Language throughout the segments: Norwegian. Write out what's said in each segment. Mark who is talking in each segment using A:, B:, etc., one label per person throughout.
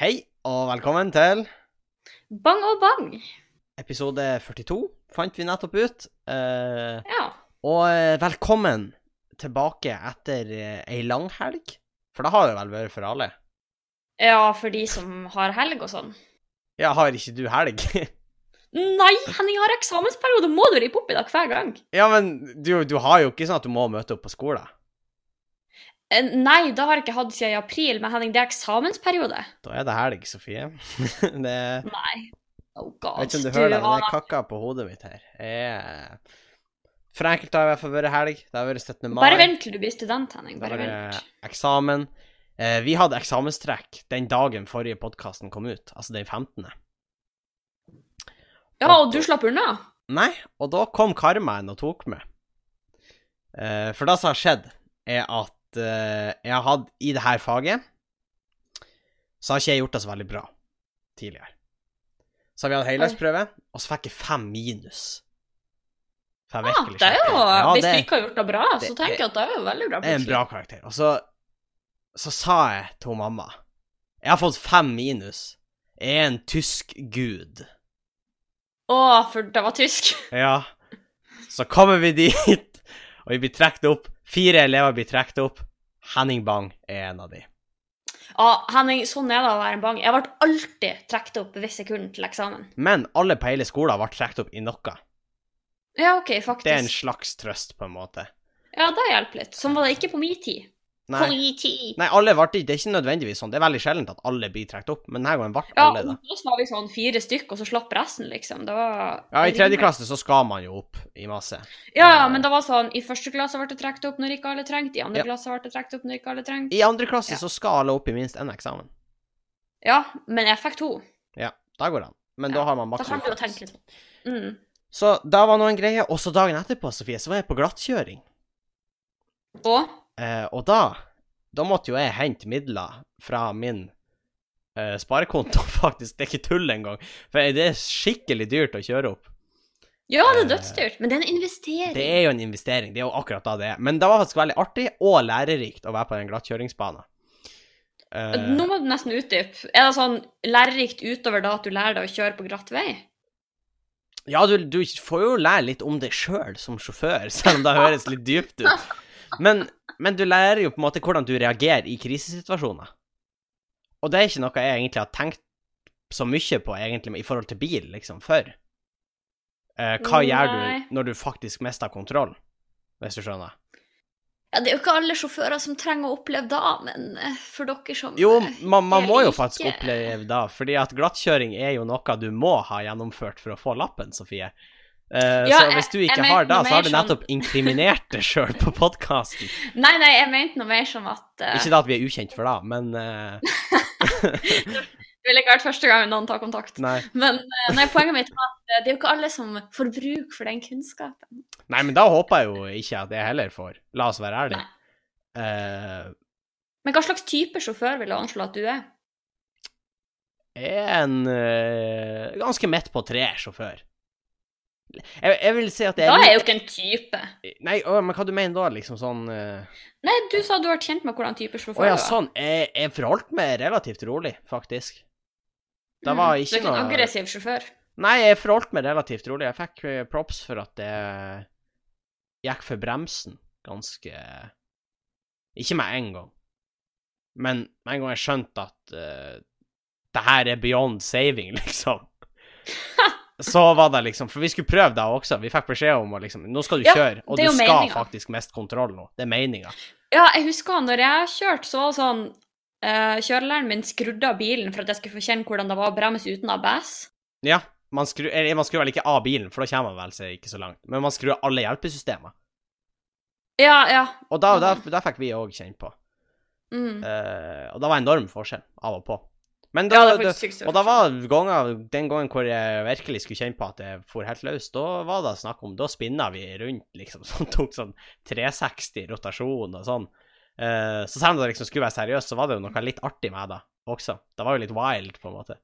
A: Hei, og velkommen til
B: Bang og bang.
A: episode 42, fant vi nettopp ut. Eh,
B: Ja.
A: og eh, velkommen tilbake etter eh, ei langhelg. For det har det vel vært for alle.
B: ja, for de som har helg og sånn.
A: Ja, har ikke du helg?
B: Nei, Henning jeg har eksamensperiode! Må du rippe opp i dag hver gang?
A: ja, men du, du har jo ikke sånn at du må møte opp på skolen.
B: Eh, Nei, det har jeg ikke hatt siden i april, men Henning, det er eksamensperiode.
A: Da er det helg, Sofie. det,
B: Nei. Oh
A: jeg
B: god.
A: vet ikke om du hører det, men det
B: aner-
A: er kakka på hodet mitt her. Jeg, for enkelte har det i hvert fall vært helg. Det har vært 17. mai.
B: Bare vent til du blir student, Henning.
A: Da
B: Bare
A: var det
B: vent.
A: eksamen. Eh, vi hadde eksamenstrekk den dagen forrige podkasten kom ut, altså den 15.
B: Ja, og du slapp unna?
A: Nei, og da kom karmaen og tok meg. Eh, for det som har skjedd, er at eh, jeg har hatt i det her faget Så har ikke jeg gjort det så veldig bra tidligere. Så har vi hatt heldagsprøve, og så fikk jeg fem minus. For jeg
B: Ja,
A: virkelig
B: Ah, det er jo,
A: slet. Ja,
B: Hvis
A: det-
B: du ikke har gjort det bra, så
A: det-
B: tenker jeg at det er jo veldig bra.
A: er en
B: plutselig.
A: bra karakter. altså. Og så, så sa jeg til mamma Jeg har fått fem minus. Jeg er en tysk gud.
B: Å, for det var tysk.
A: Ja. Så kommer vi dit, og vi blir trukket opp. Fire elever blir trukket opp. Henning Bang er en av de.
B: Ja, Henning, sånn er det å være en bang. Jeg ble alltid trukket opp hvis jeg kunne til eksamen.
A: Men alle på hele skolen ble trukket opp i noe.
B: Ja, OK, faktisk.
A: Det er en slags trøst, på en måte.
B: Ja, det hjelper litt. Sånn var det ikke på min tid. På
A: Nei,
B: min tid.
A: nei alle ble ikke Det er ikke nødvendigvis sånn. Det er veldig sjeldent at alle blir trukket opp, men denne gangen ble
B: Ja,
A: alle det.
B: ungdoms var vi sånn fire stykk, og så slapp resten, liksom. Det var
A: Ja, I tredje klasse så skal man jo opp i masse.
B: Ja, ja, men det var sånn I første klasse ble det trukket opp når ikke alle trengte, i andre
A: Ja.
B: klasse ble det trukket opp når ikke alle trengte.
A: I andre klasse
B: Ja.
A: så skal alle opp i minst én eksamen.
B: Ja, men jeg fikk to.
A: Da går det an. Men
B: Ja,
A: da har man
B: Da
A: maks
B: kan du jo
A: utdannelse.
B: tenke litt på mm.
A: Så da var nå en greie. Og så dagen etterpå, Sofie, så var jeg på glattkjøring.
B: Og
A: Eh, og da Da måtte jo jeg hente midler fra min eh, sparekonto, faktisk. Det er ikke tull engang. For det er skikkelig dyrt å kjøre opp.
B: Ja, det er
A: Eh,
B: dødsdyrt, men det er en investering.
A: Det er jo en investering. Det er jo akkurat da det er. Men det var faktisk veldig artig og lærerikt å være på den glattkjøringsbanen. Eh,
B: Nå må du nesten utdype. Er det sånn lærerikt utover da at du lærer deg å kjøre på glatt vei?
A: Ja, du, du får jo lære litt om deg sjøl som sjåfør, selv om det høres litt dypt ut. Men, men du lærer jo på en måte hvordan du reagerer i krisesituasjoner. Og det er ikke noe jeg egentlig har tenkt så mye på egentlig i forhold til bil, liksom, før. Eh, hva gjør
B: Nei.
A: du når du faktisk mister kontroll, hvis du skjønner?
B: Ja, Det er jo ikke alle sjåfører som trenger å oppleve det, men eh, for dere som
A: Jo,
B: eh,
A: man, man må jo
B: ikke-
A: faktisk oppleve det, fordi at glattkjøring er jo noe du må ha gjennomført for å få lappen, Sofie. Eh,
B: Ja,
A: så
B: jeg-
A: hvis du
B: jeg
A: ikke
B: mente
A: har det,
B: noe
A: så har
B: mer sånn-
A: du nettopp inkriminert deg sjøl på podkasten.
B: Nei, nei, jeg mente noe mer som at eh,
A: Ikke det at vi er ukjent for det, men eh,
B: Det ville ikke vært første gang noen tar kontakt.
A: nei.
B: Men eh, nei, poenget mitt var at eh, det er jo ikke alle som får bruk for den kunnskapen.
A: nei, men da håper jeg jo ikke at jeg heller får. La oss være ærlige.
B: Nei.
A: Eh,
B: Men hva slags type sjåfør vil du anslå at du er?
A: Jeg er en eh, ganske midt på tre-sjåfør. Jeg, jeg vil si at jeg
B: Da er
A: litt-
B: jeg jo ikke en type.
A: Nei, å, men hva du mener da? Liksom sånn eh,
B: Nei, du sa du var kjent med hvordan type sjåfør
A: Å ja,
B: du er.
A: sånn. Jeg, jeg forholdt meg relativt rolig, faktisk. Det
B: Mm,
A: var
B: Du
A: ikke
B: er ikke en
A: noe
B: aggressiv sjåfør.
A: Nei, jeg forholdt meg relativt rolig. Jeg fikk eh, props for at jeg gikk for bremsen ganske Ikke med en gang, men med en gang jeg skjønte at eh, det her er beyond saving, liksom. Så var det liksom For vi skulle prøve det også. Vi fikk beskjed om å liksom Nå skal du
B: Ja,
A: kjøre, og
B: det
A: du
B: er jo
A: skal
B: meningen.
A: faktisk miste kontroll nå. Det er meninga.
B: Ja, jeg husker når jeg kjørte, så var det sånn eh, Kjørelæreren min skrudde av bilen for at jeg skulle få kjenne hvordan det var å bremse uten ABS.
A: Ja, man skrur, eller man skrur vel ikke av bilen, for da kommer man vel seg ikke så langt, men man skrur av alle hjelpesystemer.
B: Ja, ja.
A: Og da, da, da fikk vi òg kjent på.
B: Mm.
A: Eh, og det var enorm forskjell av og på. Men da,
B: Ja, det er
A: det
B: faktisk sykt stor
A: og da var ganger, den gangen hvor jeg virkelig skulle kjenne på at jeg for helt løs, da var det snakk om Da spinna vi rundt, liksom, sånn tok sånn 360 rotasjon og sånn. Eh, så selv om det liksom skulle være seriøst, så var det jo noe litt artig med det også. Det var jo litt wild, på en måte.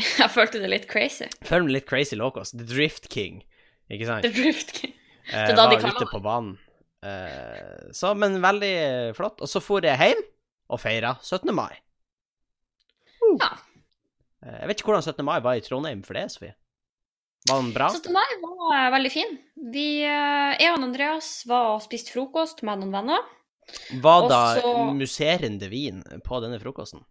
B: Jeg følte det litt crazy.
A: Følg med litt Crazy Locos, The Drift King, ikke sant?
B: The drift game.
A: Eh,
B: Det er da
A: var
B: de
A: ute
B: kaller det.
A: på banen. Eh, så, men veldig flott. Og så for jeg hjem og feira 17. mai. Woo!
B: Ja.
A: Eh, Jeg vet ikke hvordan 17. mai var i Trondheim for det, Sofie. Var den bra?
B: 17. mai var eh, veldig fin. Vi, eh, jeg og Andreas var og spiste frokost med noen venner.
A: Var da
B: Også-
A: musserende vin på denne frokosten?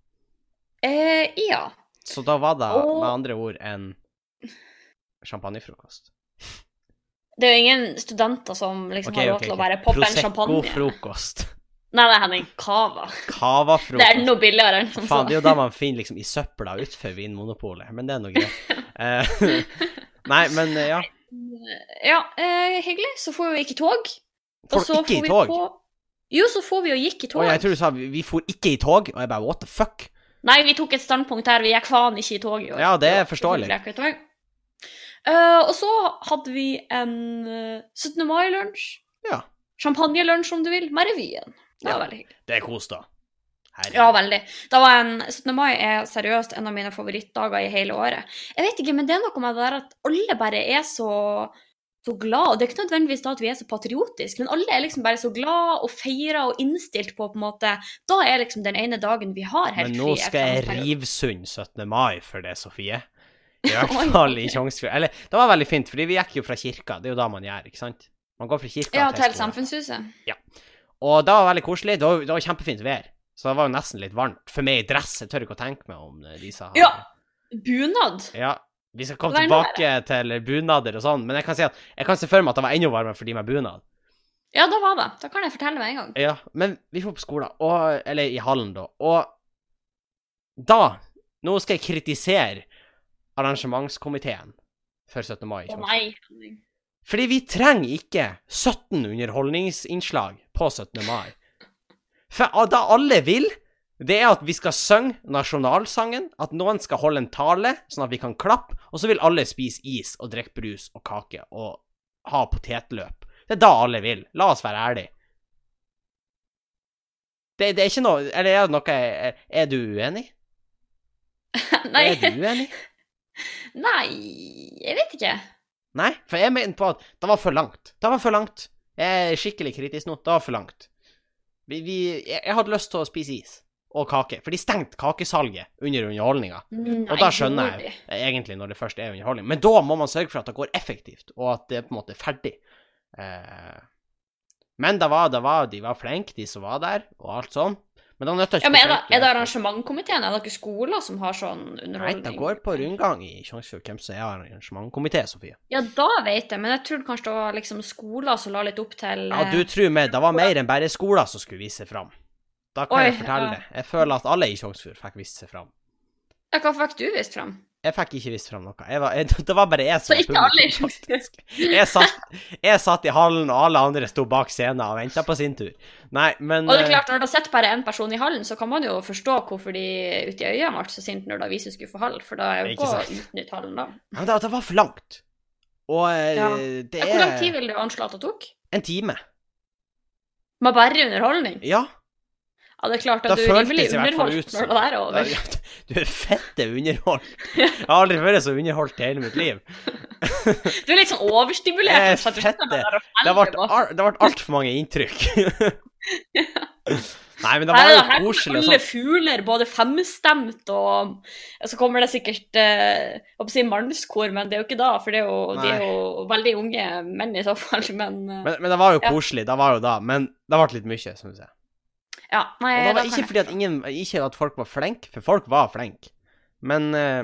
B: Eh, ja.
A: Så da var det
B: Og-
A: med andre ord en champagnefrokost.
B: Det er jo ingen studenter som liksom
A: Ok,
B: har råd
A: ok,
B: til å
A: ok.
B: bare poppe en champagne.
A: Prosecco-frokost.
B: Nei, det er Henning. Cava. Det er
A: Cava-frokost.
B: noe billigere enn sånn. som
A: Faen, det er
B: så.
A: jo da man finner liksom i søpla utenfor Vinmonopolet, men det er nå greit. Eh, Nei, men eh, ja.
B: Ja, eh, hyggelig. Så får vi gikk i tog. og
A: Folk
B: så
A: ikke i
B: for vi
A: tog.
B: På... Jo, så får vi og gikk i
A: Å,
B: tog.
A: jeg tror du sa vi vi for ikke i tog, og jeg bare what the fuck?
B: Nei, vi tok et standpunkt her. Vi gikk faen ikke i tog i år.
A: Ja, det er
B: Jo,
A: forståelig.
B: selvfølgelig gikk vi i tog. Eh, og så hadde vi en eh, 17. mai-lunsj.
A: Ja.
B: Champagnelunsj, om du vil, med revyen. Det var
A: Ja.
B: veldig hyggelig.
A: Det er kos, da. Herregud.
B: Ja, veldig. Da var en, 17. mai er seriøst en av mine favorittdager i hele året. Jeg vet ikke, men det er noe med det der at alle bare er så, så glad, og det er ikke nødvendigvis da at vi er så patriotiske, men alle er liksom bare så glad og feirer og innstilt på på en måte, da er liksom den ene dagen vi har helt
A: Men
B: fri.
A: nå skal jeg
B: etter den perioden.
A: rivsund 17. mai for det, Sofie. I hvert
B: Oi.
A: fall i Tjongsfjord. Eller, det var veldig fint, fordi vi gikk jo fra kirka. Det er jo da man gjør, ikke sant? Man går fra kirka
B: Ja, til
A: skolen.
B: samfunnshuset.
A: Og det var veldig koselig. Det var, det var kjempefint vær. Så det var jo nesten litt varmt. For meg i dress, jeg tør ikke å tenke meg om eh, Lisa. har-
B: Ja. Bunad.
A: ja. Vi skal komme
B: Det er noe
A: tilbake til bunader og sånn, men jeg kan si at jeg kan se for meg at det var enda varmere for de med bunad.
B: Ja, da var det. Da kan jeg fortelle med en gang.
A: Ja, men vi får på skolen, og, eller i hallen da, og da, nå skal jeg kritisere arrangementskomiteen for 17. mai.
B: Å nei. Henning.
A: Fordi vi trenger ikke 17 underholdningsinnslag på 17. mai. For a- da alle vil, det er at vi skal synge nasjonalsangen, at noen skal holde en tale, sånn at vi kan klappe, og så vil alle spise is og drikke brus og kake og ha potetløp. Det er da alle vil. La oss være ærlige. Det, det er ikke noe Eller er det noe jeg- Er du uenig?
B: Nei.
A: Er du uenig?
B: nei, jeg vet ikke.
A: Nei, for jeg mener på at det var for langt. Det var for langt. Jeg er skikkelig kritisk nå. Det var for langt. Vi, vi, jeg jeg hadde lyst til å spise is og kake, for de stengte kakesalget under underholdninga.
B: Nei,
A: Og da skjønner
B: Jordi.
A: jeg egentlig når det først er underholdning, men da må man sørge for at det går effektivt, og at det på en måte er ferdig. Eh, men det var, det var, de var flinke, de som var der, og alt sånn. Men da nytter
B: Ja, men er det,
A: forsøke-
B: er det arrangementkomiteen? Er det ikke skoler som har sånn
A: Nei,
B: underholdning?
A: det går på rundgang i Tjongsfjord hvem som er arrangementkomité, Sofie.
B: Ja, da vet jeg, men jeg trodde kanskje det var liksom skoler som la litt opp til eh,
A: Ja, du tror meg, det var mer enn bare skolen som skulle vise seg fram. Da kan
B: Oi,
A: jeg fortelle
B: ja.
A: det. Jeg føler at alle i Tjongsfjord fikk vist seg fram.
B: eh, Hva fikk du vist fram?
A: Jeg fikk ikke vist fram noe. Jeg var, jeg, det var bare jeg som
B: Så ikke
A: var
B: alle i
A: publikum, faktisk. Jeg satt, jeg satt i hallen, og alle andre sto bak scenen og venta på sin tur. Nei, men
B: Og det er
A: eh,
B: klart, når du har sett bare én person i hallen, så kan man jo forstå hvorfor de ute i øya ble så sinte når da vi som skulle få hall, for da er jo
A: Ikke
B: ikke å
A: sant.
B: utnytte hallen da.
A: men det, det var for langt. Og eh,
B: Ja.
A: det
B: Ja, hvor lang tid
A: er
B: vil du anslå at det tok?
A: en time.
B: Med bare underholdning?
A: Ja.
B: Ja, det er klart
A: Da
B: at du er
A: føltes
B: rimelig
A: i hvert fall ut
B: underholdt
A: som-
B: når det der er
A: Ja,
B: over.
A: ja, Du er fette underholdt. Jeg har aldri vært så underholdt i hele mitt liv.
B: Du er litt sånn overstimulert.
A: Eh,
B: så at du
A: fette.
B: sitter der og
A: Det
B: feller
A: ble,
B: på.
A: al det ble altfor mange inntrykk. Nei, men det
B: Nei,
A: var jo
B: da, her kommer
A: koselig. og
B: Alle
A: sånn.
B: fugler, både femstemt og og Så kommer det sikkert eh, jeg håper å si mannskor, men det er jo ikke da, for det er jo, de er
A: Nei.
B: jo veldig unge menn i så fall. Men, eh,
A: Men, men det var jo
B: Ja.
A: koselig, det var jo da. Men det ble litt mye, syns jeg.
B: ja, nei,
A: Og det
B: da
A: var
B: kan
A: ikke
B: jeg
A: fordi at, ingen, ikke at folk var flinke, for folk var flinke. Men, eh,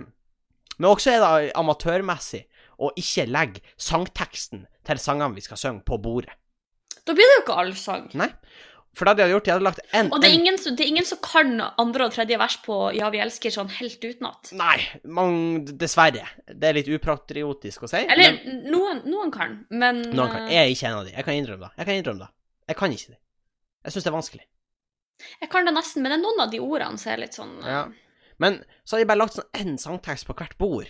A: men også er det amatørmessig å ikke legge sangteksten til sangene vi skal synge, på bordet.
B: Da blir det jo ikke allsang.
A: For det de hadde gjort, de hadde lagt en,
B: Og det er,
A: en
B: ingen, som- det er ingen som kan andre og tredje vers på 'Ja, vi elsker' sånn helt utenat.
A: Nei, man, dessverre. Det er litt upatriotisk å si.
B: Eller noen, noen kan, men
A: men noen kan,
B: eh,
A: jeg er ikke en av de. Jeg kan innrømme det. Jeg kan innrømme det. Jeg kan ikke det. Jeg syns det er vanskelig.
B: jeg kan det nesten. Men det er noen av de ordene som er litt sånn eh,
A: Ja. Men så har de bare lagt sånn én sangtekst på hvert bord.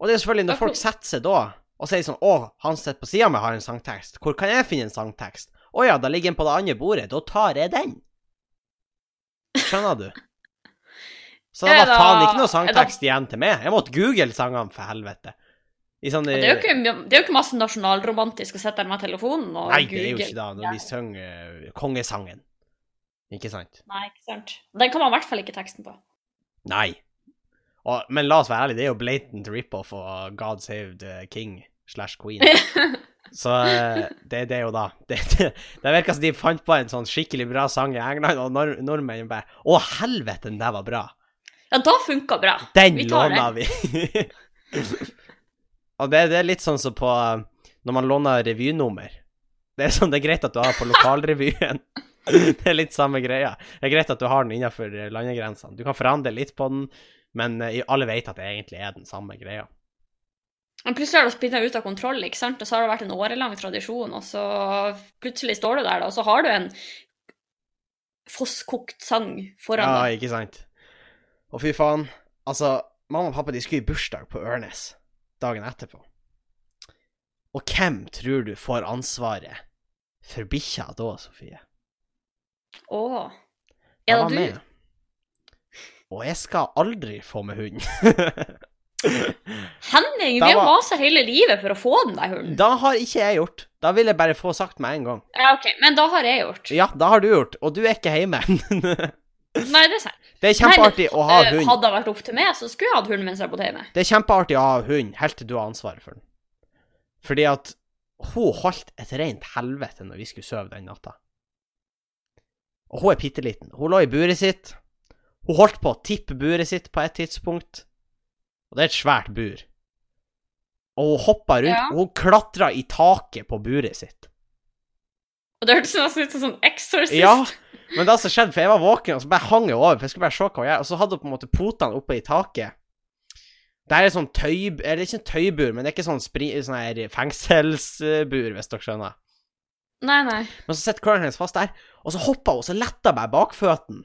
A: Og det er jo selvfølgelig når
B: Ja,
A: folk
B: hvor-
A: setter seg da og sier sånn 'Å, han sitter på sida mi har en sangtekst. Hvor kan jeg finne en sangtekst?' 'Å ja, da ligger den på det andre bordet. Da tar jeg den.' Skjønner du? Så det
B: Er
A: var
B: da-
A: faen ikke noe
B: er da-
A: sangtekst igjen til meg. Jeg måtte google sangene, for helvete. I sånn
B: Det er, jo ikke, det er jo ikke masse nasjonalromantisk å sitte der med telefonen og
A: Nei, det er jo
B: google.
A: ikke det, når vi synger eh, kongesangen. Ikke sant?
B: Nei, ikke sant. Den kan man i hvert fall ikke teksten på.
A: Nei. Og, men la oss være ærlige, det er jo blatant rip-off og God save the king slash queen. Så eh, det, det er jo da Det, det, det virker som de fant på en sånn skikkelig bra sang i England, og nor nordmennene bare Å, helvete, den der var bra!
B: Ja, da funka bra.
A: Den
B: Vi tar
A: låna vi! og det, det er litt sånn som på eh, når man låner revynummer. Det er sånn, det er greit at du har på lokalrevyen. det er litt samme greia. Det er greit at du har den innenfor eh, landegrensene. Du kan forandre litt på den, men eh, alle vet at det egentlig er den samme greia.
B: Men plutselig har det spinna ut av kontroll, ikke sant? og så har det vært en årelang tradisjon, og så plutselig står du der, da, og så har du en fosskokt sang foran
A: Ja,
B: deg.
A: ikke sant. Og fy faen. Altså, mamma og pappa de skulle i bursdag på Ørnes dagen etterpå. Og hvem tror du får ansvaret for bikkja da, Sofie?
B: Å.
A: Jeg
B: Er
A: var
B: det
A: med.
B: du?
A: Og jeg skal aldri få med hund.
B: Henning,
A: Da
B: vi har
A: var-
B: masa hele livet for å få den der hunden.
A: da har ikke jeg gjort. Da vil jeg bare få sagt med en gang.
B: Ja, OK, men da har jeg gjort.
A: Ja, da har du gjort, og du er ikke hjemme.
B: Nei, det er sant.
A: det er kjempeartig å ha
B: Eh,
A: hund.
B: Hadde det vært opp til meg, så skulle jeg hatt hunden mens jeg bodde hjemme.
A: Det er kjempeartig å ha hund helt til du har ansvaret for den. Fordi at hun holdt et rent helvete når vi skulle sove den natta. Og hun er bitte liten. Hun lå i buret sitt. Hun holdt på å tippe buret sitt på et tidspunkt. Og det er et svært bur. Og hun hoppa rundt,
B: Ja.
A: og hun klatra i taket på buret sitt.
B: Og det hørtes nesten ut som sånn Exorcist.
A: Ja, men det som skjedde, for jeg var våken, og så bare hang jeg over, for jeg skulle bare se hva hun gjør, og så hadde hun på en måte potene oppe i taket. Det her er sånn tøy... Eller ikke en tøybur, men det er ikke sånn, spri, sånn her fengselsbur, hvis dere skjønner.
B: Nei, nei.
A: Men så sitter curlen hennes fast der, og så hoppa hun, og så letta bare bakføtten.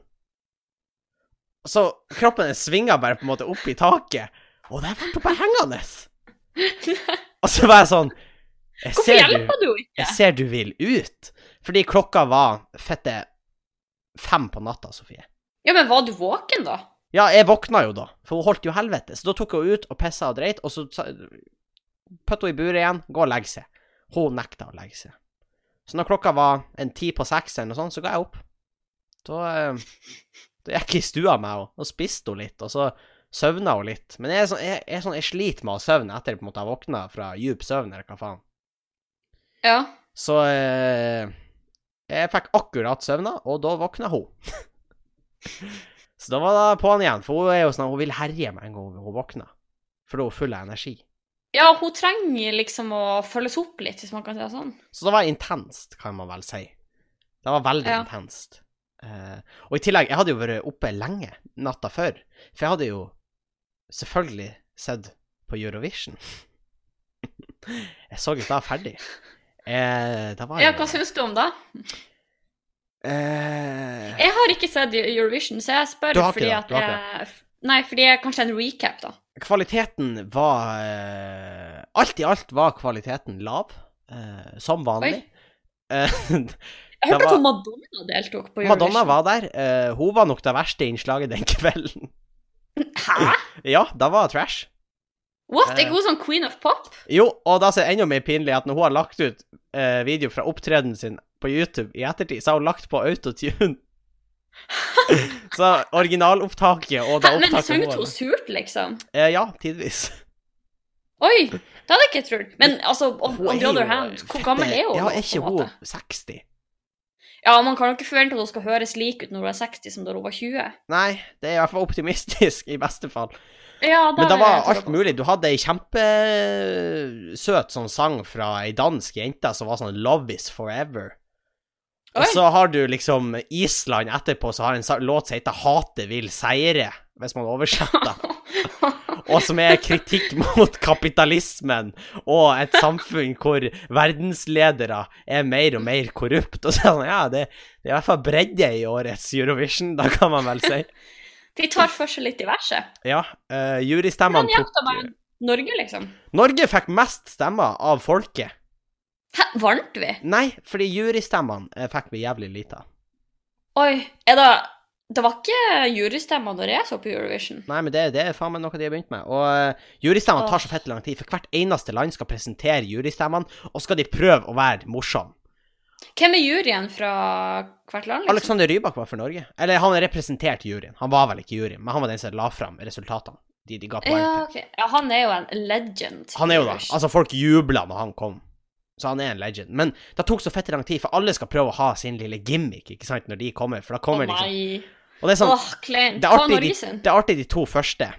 A: Så kroppen hennes svinga bare på en måte opp i taket, og der ble hun bare hengende. Og så var jeg sånn jeg
B: Hvorfor
A: ser du-
B: hjelper du henne ikke?
A: jeg ser du vil ut. Fordi klokka var fette fem på natta, Sofie.
B: Ja, men var du våken, da?
A: Ja, jeg våkna jo da, for hun holdt jo helvete. Så da tok hun ut og pissa og dreit, og så sa- putt hun i buret igjen, gå og legg seg. Hun nekta å legge seg. Så når klokka var en ti på seks eller noe sånt, så ga jeg opp. Da, eh, da gikk jeg i stua med henne, og spiste hun litt, og så søvna hun litt. Men jeg, er sånn, jeg, jeg, er sånn, jeg sliter med å søvne etter på en måte jeg våkna fra djup søvn, eller hva faen.
B: Ja.
A: Så eh, jeg fikk akkurat søvna, og da våkna hun. så da var det på'n igjen, for hun er jo sånn hun vil herje med en gang hun våkner. For da er hun full av energi.
B: Ja, hun trenger liksom å følges opp litt, hvis man kan si det sånn.
A: Så det var intenst, kan man vel si. Det var veldig
B: Ja.
A: intenst. Eh, og i tillegg, jeg hadde jo vært oppe lenge natta før, for jeg hadde jo selvfølgelig sett på Eurovision. jeg så ikke da ferdig. Eh, det var
B: Ja,
A: jo-
B: hva syns du om det?
A: Eh,
B: Jeg har ikke sett Eurovision, så jeg spør
A: Du har ikke
B: fordi
A: det,
B: at
A: du har
B: jeg... Nei, fordi jeg kanskje en recap, da.
A: kvaliteten var eh, Alt i alt var kvaliteten lav, eh, som vanlig. Eh,
B: Jeg
A: Det
B: hørte at
A: var-
B: hun Madonna deltok på Eurovision.
A: Madonna var der. eh, hun var nok det verste innslaget den kvelden.
B: Hæ?
A: ja, det var trash.
B: What?
A: Eh.
B: Er ikke hun sånn queen of pop?
A: Jo, og det som er enda mer pinlig, er at når hun har lagt ut eh, video fra opptredenen sin på YouTube i ettertid, så har hun lagt på autotune. så originalopptaket og det
B: Hæ, men
A: opptaket
B: sang hun
A: hadde-
B: surt, liksom?
A: Eh, Ja, tidvis.
B: Oi! Det hadde jeg ikke trodd. Men altså, on,
A: Hun
B: on
A: er
B: the other
A: jo
B: hand, hvor
A: fette-
B: gammel er hun?
A: Ja,
B: nå,
A: er
B: på
A: ikke
B: en
A: hun
B: måte?
A: 60?
B: Ja, man kan jo ikke forvente at hun skal høres lik ut når hun er 60 som da hun var 20.
A: Nei, det er i hvert fall optimistisk, i beste fall.
B: Ja, da
A: Men det
B: er
A: var
B: jeg
A: alt
B: på.
A: mulig. Du hadde ei kjempesøt sånn sang fra ei dansk jente som var sånn 'Love Is Forever'. Og
B: Oi.
A: så har du liksom Island etterpå, så har en sa- låt som heter 'Hatet vil seire', hvis man oversetter. Og som er kritikk mot kapitalismen og et samfunn hvor verdensledere er mer og mer korrupt. Og så er det sånn, ja, det, det er i hvert fall bredde i årets Eurovision, da kan man vel si.
B: De tar for seg litt diverse.
A: Ja, uh,
B: Men
A: jurystemmene
B: ja,
A: tok
B: da var Norge, liksom.
A: Norge fikk mest stemmer av folket.
B: Hæ, vant vi?
A: Nei, fordi jurystemmene eh, fikk vi jævlig lite av.
B: Oi, er det Det var ikke jurystemmer når jeg så på Eurovision.
A: Nei, men det, det er faen meg noe de har begynt med. Og eh, jurystemmene tar så fett lang tid, for hvert eneste land skal presentere jurystemmene, og skal de prøve å være morsomme.
B: Hvem er juryen fra hvert land? Liksom?
A: Alexander Rybak var for Norge. Eller han representerte juryen. Han var vel ikke juryen, men han var den som la fram resultatene. De, de ga poeng
B: Ja,
A: til.
B: ok. Ja, han er jo en legend.
A: Han er jo da
B: Rush.
A: Altså, folk jubla når han kom. Så han er en legend. Men det tok så fette lang tid, for alle skal prøve å ha sin lille gimmick, ikke sant, når de kommer. For da kommer
B: Å
A: liksom
B: nei.
A: Og det er sånn
B: Åh, kleint.
A: det er
B: Ta
A: artig
B: Norge sin.
A: Det er artig de to første,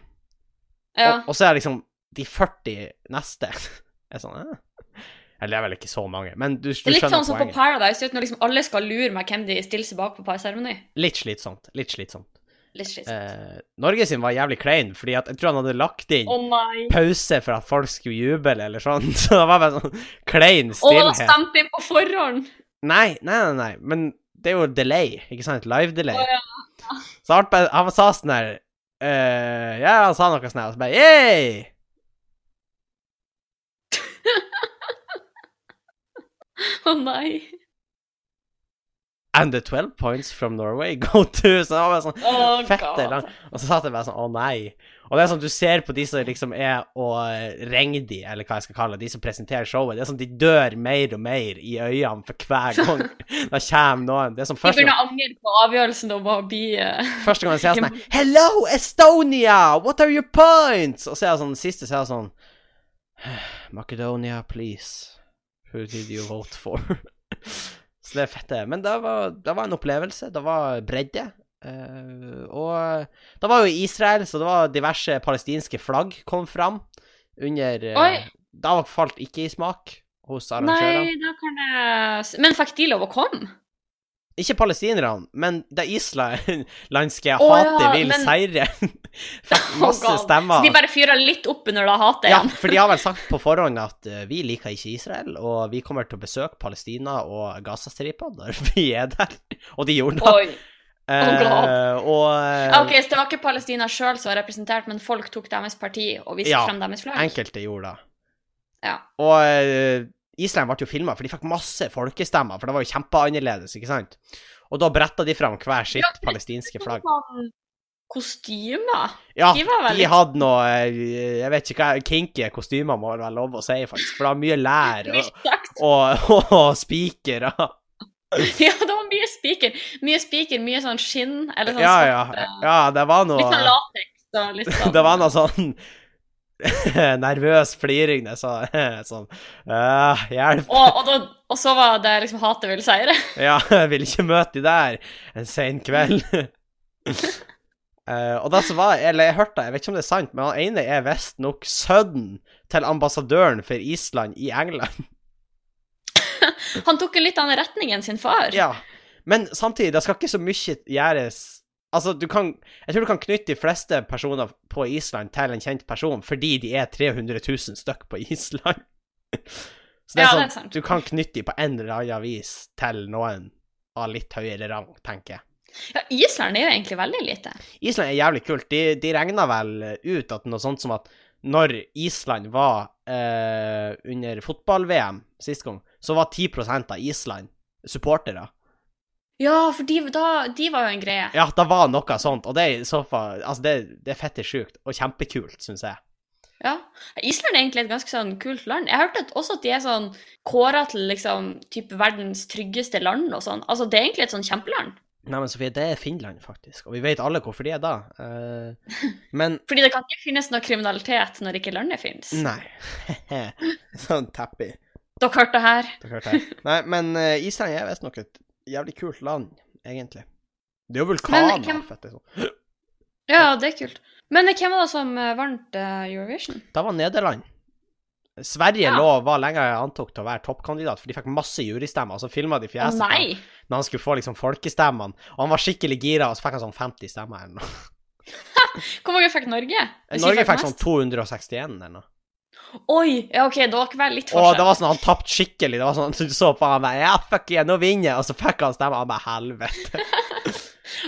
B: Ja.
A: og, og så er det liksom de 40 neste er sånn eh. Eller det er vel ikke så mange, men du, du
B: Det er litt
A: skjønner
B: sånn som på
A: poenget.
B: Paradise, uten at liksom alle skal lure meg hvem de stiller seg bak på parseremoni.
A: Litt slitsomt. Litt slitsomt.
B: Litt slitsomt.
A: Eh, Norge sin var jævlig klein, fordi at jeg tror han hadde lagt inn
B: Å nei.
A: pause for at folk skulle juble eller sånn, så det var bare sånn klein
B: Å, da
A: stillhet.
B: stemte inn på forhånd!
A: Nei, nei, nei, nei, men det er jo delay, ikke sant? Live-delay.
B: Å, ja.
A: Så han, bare- han sa sånn her eh, Ja, han sa noe sånn her, og så bare Yay!
B: Å nei.
A: And the 12 points from Norway go to Så det var bare sånn
B: Å,
A: fette
B: God.
A: lang. Og så satt jeg bare sånn Å, nei. Og det er sånn du ser på de som liksom er og eh, ringer de, eller hva jeg skal kalle det, de som presenterer showet, det er sånn de dør mer og mer i øynene for hver gang da kommer noen. Det er sånn
B: De
A: første gang
B: begynner å angre på avgjørelsen om å bli eh,
A: Første gang jeg ser sånn her, Hello, Estonia! What are your points? Og så er jeg sånn, siste så er jeg sånn Macedonia, please. Who did you vote for? så det er fett, det. Men det var, det var en opplevelse. Det var bredde. Eh, og det var jo i Israel, så det var diverse palestinske flagg kom fram under eh,
B: Oi.
A: Da falt ikke i smak hos arrangørene.
B: Nei, da kan jeg s- Men fikk de lov å komme?
A: Ikke palestinerne, men det islandske jeg
B: Å,
A: hatet
B: ja,
A: vil
B: men-
A: seire. Fikk
B: Å,
A: masse
B: God. Så
A: stemmer.
B: de bare fyrer litt opp under da hatet
A: Ja,
B: igjen?
A: for de har vel sagt på forhånd at eh, vi liker ikke Israel, og vi kommer til å besøke Palestina og Gazastripa når vi er der. Og de gjorde det.
B: Oi. oh God.
A: Eh, og
B: Ja,
A: eh,
B: ok, så det var ikke Palestina sjøl som var representert, men folk tok deres parti og viste
A: Ja,
B: frem deres flagg?
A: enkelte gjorde det.
B: Ja.
A: Og eh, Island ble jo filma, for de fikk masse folkestemmer, for det var jo kjempeannerledes, ikke sant? Og da bretta de fram hver sitt
B: Ja, for-
A: palestinske flagg.
B: Sånn Kostymer?
A: Ja,
B: De var vel
A: de
B: litt-
A: hadde noe eh, Jeg vet ikke hva Kinky kostymer må det være lov å si, faktisk. For det var mye lær og,
B: Respekt.
A: og, og, spikere.
B: Ja, det var mye spiker. Mye spiker, mye sånn skinn, eller sånn
A: Ja, ja.
B: svart, eh,
A: ja det var noe
B: Litt sånn lateks og litt sånn
A: Det var noe sånn nervøs fliring. Det så, sånn «Åh, Hjelp.
B: og, og, da, og så var det liksom hatet vil seire.
A: Ja, jeg vil ikke møte de der en sen kveld. Eh, og det som var, eller jeg hørte det, jeg vet ikke om det er sant, men han ene er visstnok sønnen til ambassadøren for Island i England.
B: Han tok jo litt annen retning enn sin far.
A: Ja, men samtidig, det skal ikke så mye gjøres Altså, du kan Jeg tror du kan knytte de fleste personer på Island til en kjent person fordi de er 300 000 stykk på Island. Så det er
B: Ja, det er
A: sånn,
B: sant.
A: du kan knytte de på en eller annen vis til noen av litt høyere rang, tenker jeg.
B: Ja, Island er jo egentlig veldig lite.
A: Island er jævlig kult. De, de regna vel ut at noe sånt som at når Island var eh, under fotball-VM sist gang, så var 10 av Island supportere.
B: Ja, for de, da, de var jo en greie.
A: Ja, det var noe sånt, og det er i så fall Altså, det, det er fette sjukt, og kjempekult, syns jeg.
B: Ja. Island er egentlig et ganske sånn kult land. Jeg hørte at også at de er sånn kåra til liksom type verdens tryggeste land og sånn. Altså, det er egentlig et sånn kjempeland.
A: Neimen, Sofie, det er Finland, faktisk, og vi vet alle hvorfor de er da. Eh, men
B: Fordi det kan ikke finnes noe kriminalitet når ikke landet finnes.
A: Nei. sånn tappy.
B: Dere hørte her.
A: Dere hørte det. Nei, men eh, Island er visstnok et jævlig kult land, egentlig. Det er jo vulkaner,
B: Men hvem-
A: fette sånn.
B: Ja, det er kult. Men hvem var det som eh, vant eh, Eurovision?
A: Da var Nederland. Sverige
B: Ja.
A: lå, var lenge jeg antok til å være toppkandidat, for de fikk masse jurystemmer, og så filma de
B: Å
A: fjeset på han
B: nei!
A: når han skulle få liksom folkestemmene, og han var skikkelig gira, og så fikk han sånn 50 stemmer eller noe.
B: Hvor mange fikk Norge? Hvis vi
A: Norge fikk sånn
B: mest?
A: 261 eller noe.
B: Oi! Ja, OK, det var ikke vel
A: Og
B: litt
A: sånn. det
B: forskjell.
A: var sånn, han tapte skikkelig. Det var sånn, Du så på han bare Ja, fuck yeah, nå vinner jeg! Og så fikk han stemme. Han bare Helvete.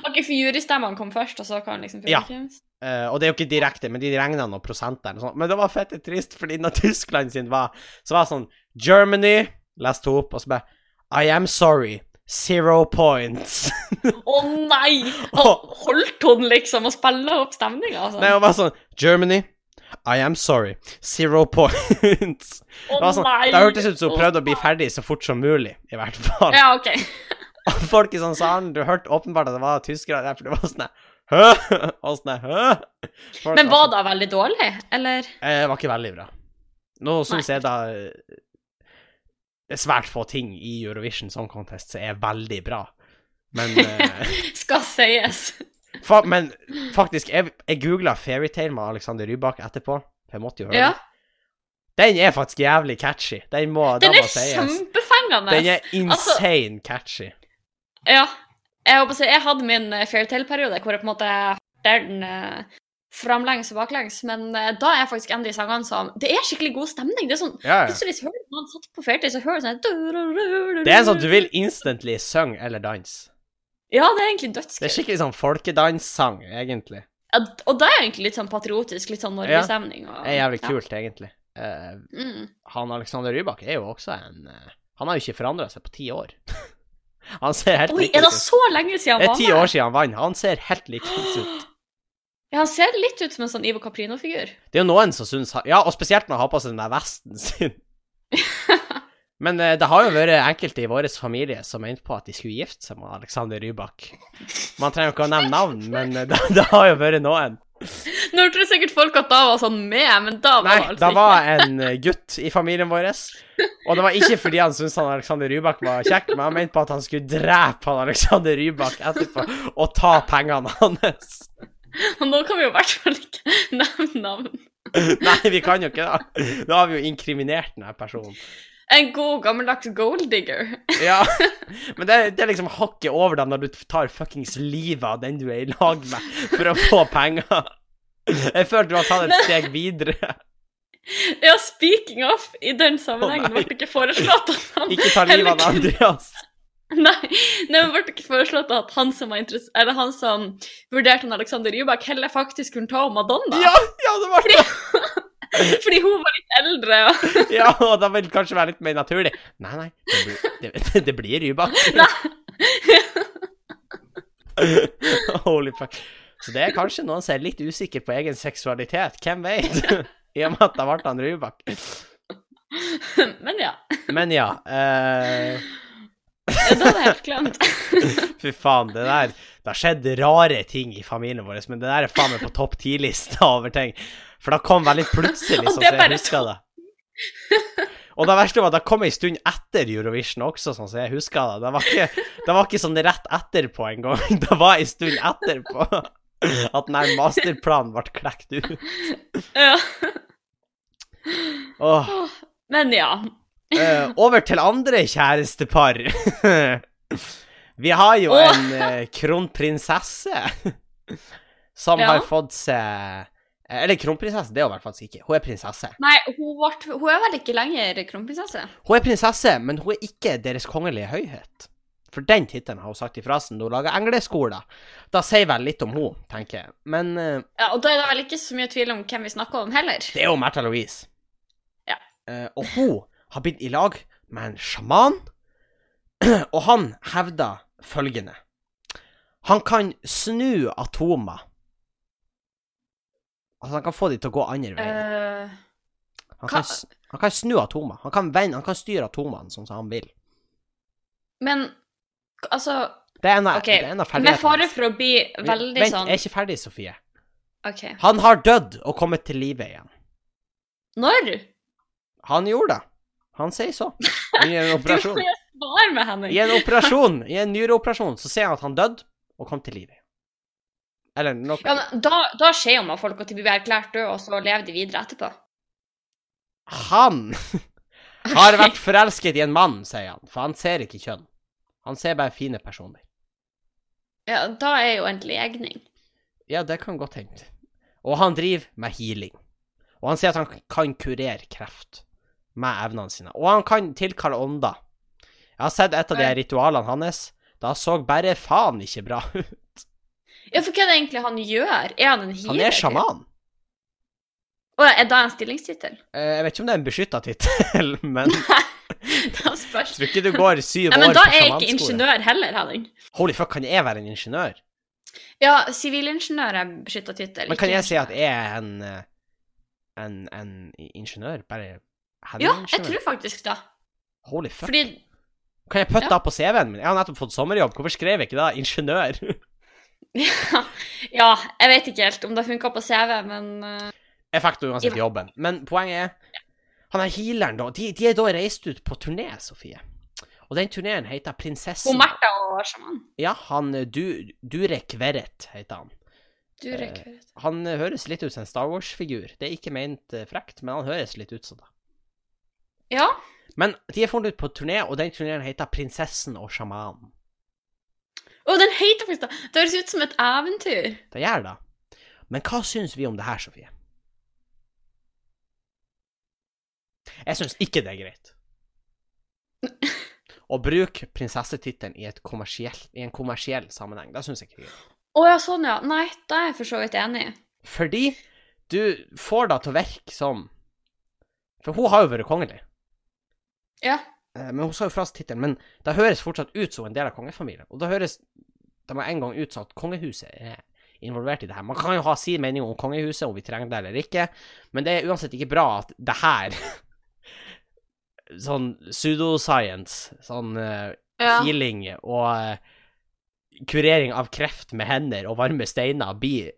B: OK, for jurystemmene kom først, og så kom liksom
A: Ja.
B: publikums.
A: Eh, og det er jo ikke direkte, men de regna noen prosenter og sånn. Men det var fette trist, fordi når Tyskland sin var Så var det sånn Germany Leste hun opp, og så bare I am sorry. Zero points.
B: Å nei! Og Holdt hun liksom og spilla opp stemninga? Altså.
A: Nei, hun var sånn Germany I am sorry. Zero points.
B: Å
A: Det var sånn,
B: nei!
A: det hørtes ut som hun prøvde å bli ferdig så fort som mulig, i hvert fall.
B: Ja, OK.
A: Og folk i sånn salen, du hørte åpenbart at det var tyskere der, for det var sånn der, Hø? Og sånn der, Hø? Folk
B: Men var det veldig dårlig, eller?
A: sånn, eh, var ikke veldig bra. Nå syns jeg da eh, Det er svært få ting i Eurovision Song Contest som er veldig bra. Men, eh,
B: Skal sies.
A: fa men faktisk, jeg, jeg googla Fairytale med Alexander Rybak etterpå. For jeg måtte jo høre
B: Ja.
A: den. Den er faktisk jævlig catchy. Den må
B: Den
A: da
B: er Altså
A: må sies.
B: kjempefengende.
A: Den er insane catchy.
B: Ja. Jeg håper å si, jeg hadde min eh, Fairytale-periode hvor jeg på en måte hørte den eh, framlengs og baklengs, men eh, da er faktisk en av de sangene som Det er skikkelig god stemning. Det er sånn
A: Ja, ja.
B: Plutselig så hører du noen satt på Fairytale, så hører du sånn du-du-du-du-du.
A: Det er sånn at du vil instantly synge eller danse.
B: Ja, det er egentlig
A: Det er
B: dødskult.
A: skikkelig sånn folkedanssang, egentlig.
B: Ja, og det er egentlig litt sånn patriotisk, litt sånn
A: Ja.
B: Norge-stemning. og-
A: Det er jævlig
B: ja.
A: kult, egentlig. Eh,
B: Mm.
A: han Alexander Rybak er jo også en eh, Han har jo ikke forandra seg på ti år. han ser helt
B: Oi,
A: lik
B: er det
A: ut.
B: så lenge siden han
A: Det er
B: var
A: ti år siden han vant. Han ser helt lik ut.
B: Ja, han ser litt ut som en sånn Ivo Caprino-figur.
A: Det er jo noen som syns han- Ja, og spesielt når han har på seg den der vesten sin. Men eh, det har jo vært enkelte i vår familie som mente på at de skulle gifte seg med Alexander Rybak. Man trenger jo ikke å nevne navn, men eh, det, det har jo vært noen.
B: Nå tror sikkert folk at da var sånn med, men da var det
A: Nei,
B: altså
A: det var en eh, gutt i familien vår, og det var ikke fordi han syntes han Alexander Rybak var kjekk, men han mente på at han skulle drepe han Alexander Rybak etterpå og ta pengene hans.
B: ikke. Og nå kan vi jo i hvert fall ikke nevne navn.
A: Nei, vi kan jo ikke det. Da har vi jo inkriminert denne personen.
B: En god, gammeldags golddigger.
A: Ja, Men det, det er liksom hakket over deg når du tar fuckings livet av den du er i lag med, for å få penger. Jeg føler du har tatt et steg videre.
B: Ja, speaking of, i den
A: Å,
B: sammenhengen
A: nei.
B: ble det ikke foreslått at han
A: Ikke ta livet av
B: Eller-
A: Andreas.
B: Nei, nei, men ble det ikke foreslått at han som, var interess- eller han som vurderte han Alexander Rybak, heller faktisk kunne ta Madonna?
A: Ja, ja, det var det.
B: Fordi hun var litt eldre. Og...
A: Ja, og da vil det kanskje være litt mer naturlig. Nei, nei, det blir, det, det blir Rybak. Holy fuck. Så det er kanskje noen som er litt usikker på egen seksualitet, hvem vet? I og med at det ble han Rybak.
B: Men ja,
A: Men ja. eh,
B: det hadde jeg helt glemt.
A: fy faen, det der Det har skjedd rare ting i familien vår, men det der er faen meg på topp ti-lista over ting. For det kom veldig plutselig,
B: Og
A: sånn som
B: det er
A: jeg
B: bare
A: husker det. Og det verste var at det kom ei stund etter Eurovision også, sånn som jeg husker det. Det var ikke, det var ikke sånn rett etterpå engang. Det var ei stund etterpå at den her masterplanen ble klekt ut.
B: Ja.
A: Åh,
B: Men ja.
A: eh, over til andre kjærestepar. Vi har jo
B: Åh.
A: en eh, kronprinsesse som
B: Ja.
A: har fått seg Eller kronprinsesse, det er hun i hvert fall ikke. Hun er prinsesse.
B: Nei, hun, vart- hun er vel ikke lenger kronprinsesse?
A: Hun er prinsesse, men hun er ikke Deres kongelige høyhet. For den tittelen har hun sagt ifra seg når hun lager engleskoler. Da sier vel litt om hun, tenker jeg. Men eh,
B: Ja, Og da er det vel ikke så mye tvil om hvem vi snakker om heller.
A: det er jo Märtha Louise.
B: Ja.
A: Eh, og hun har blitt i lag med en sjaman, og han hevder følgende Han kan snu atomer. Altså, han kan få de til å gå andre veien.
B: Eh,
A: Han kan,
B: hva-
A: s- han kan snu atomer. Han kan vende, han kan styre atomene sånn som han vil.
B: men altså
A: Det er en av,
B: Ok,
A: det er en av
B: Med
A: ferdighetene.
B: fare for å bli veldig
A: Vent,
B: sånn
A: jeg er ikke ferdig, Sofie.
B: OK.
A: Han har dødd og kommet til live igjen.
B: Når?
A: Han gjorde det. Han sier så. I en
B: Du må
A: operasjon.
B: jo svare med Henning.
A: I en operasjon, i en nyreoperasjon, så sier han at han døde og kom til live igjen. Eller noe
B: Ja, men da, da skjer jo med folk at de blir erklært døde, og så lever de videre etterpå.
A: Han har vært forelsket i en mann, sier han, for han ser ikke kjønn. Han ser bare fine personer.
B: Ja, da er jo en legning.
A: Ja, det kan godt hende. Og han driver med healing. Og han sier at han kan kurere kreft med evnene sine. Og han kan tilkalle ånder. Jeg har sett et av de
B: Oi.
A: ritualene hans. Da så bare faen ikke bra ut.
B: Ja, for hva er det egentlig han gjør? Er han en healer?
A: Han er
B: typ?
A: sjaman.
B: Og er det en stillingstittel?
A: Eh, Jeg vet ikke om det er en beskytta tittel, men jeg
B: Da spørs.
A: tror ikke du går syv
B: Nei,
A: år
B: men
A: på
B: da er jeg ikke
A: sjamanskole.
B: ingeniør heller, Henning.
A: Holy fuck, kan jeg være en ingeniør?
B: Ja, sivilingeniør er beskytta tittel.
A: Men kan jeg si at jeg er en eh, enn en i- ingeniør? Bare
B: Ja, jeg
A: headingeniør?
B: tror faktisk det.
A: Holy fuck.
B: Fordi
A: Kan jeg putte
B: Ja.
A: det på CV-en min? Jeg har nettopp fått sommerjobb, hvorfor skrev jeg ikke da ingeniør?
B: ja, ja, jeg vet ikke helt om det funka på CV, men eh,
A: Jeg fikk da uansett jobben. Men poenget er Han er healeren, da. De, de er da reist ut på turné, Sofie. Og den turneen heter
B: hun
A: Prinsessen.
B: Märtha og Sjaman
A: Ja, han eh, du, Durek Verret heter han.
B: Du
A: Eh,
B: rekker ut.
A: Han eh, høres litt ut som en Star Wars-figur. Det er ikke ment eh, frekt, men han høres litt ut som det.
B: Ja.
A: Men de er funnet ut på turné, og den turneen heter Prinsessen og sjamanen.
B: Å, den heter faktisk det! Det høres ut som et eventyr.
A: Det gjør det. Men hva syns vi om det her, Sofie? Jeg syns ikke det er greit. Å bruke prinsessetittelen i, et kommersiell- i en kommersiell sammenheng, det syns jeg ikke er greit.
B: Å ja, sånn ja. Nei, det er jeg for så vidt enig i.
A: Fordi du får det til å virke som For hun har jo vært kongelig.
B: Ja.
A: Eh, Men hun sa jo fra seg tittelen. Men det høres fortsatt ut som en del av kongefamilien. Og det høres det må en gang ut som at kongehuset er involvert i det her. Man kan jo ha sin mening om kongehuset, om vi trenger det eller ikke, men det er uansett ikke bra at det her Sånn pseudoscience, sånn eh,
B: Ja.
A: healing og eh, kurering av kreft med hender og varme steiner blir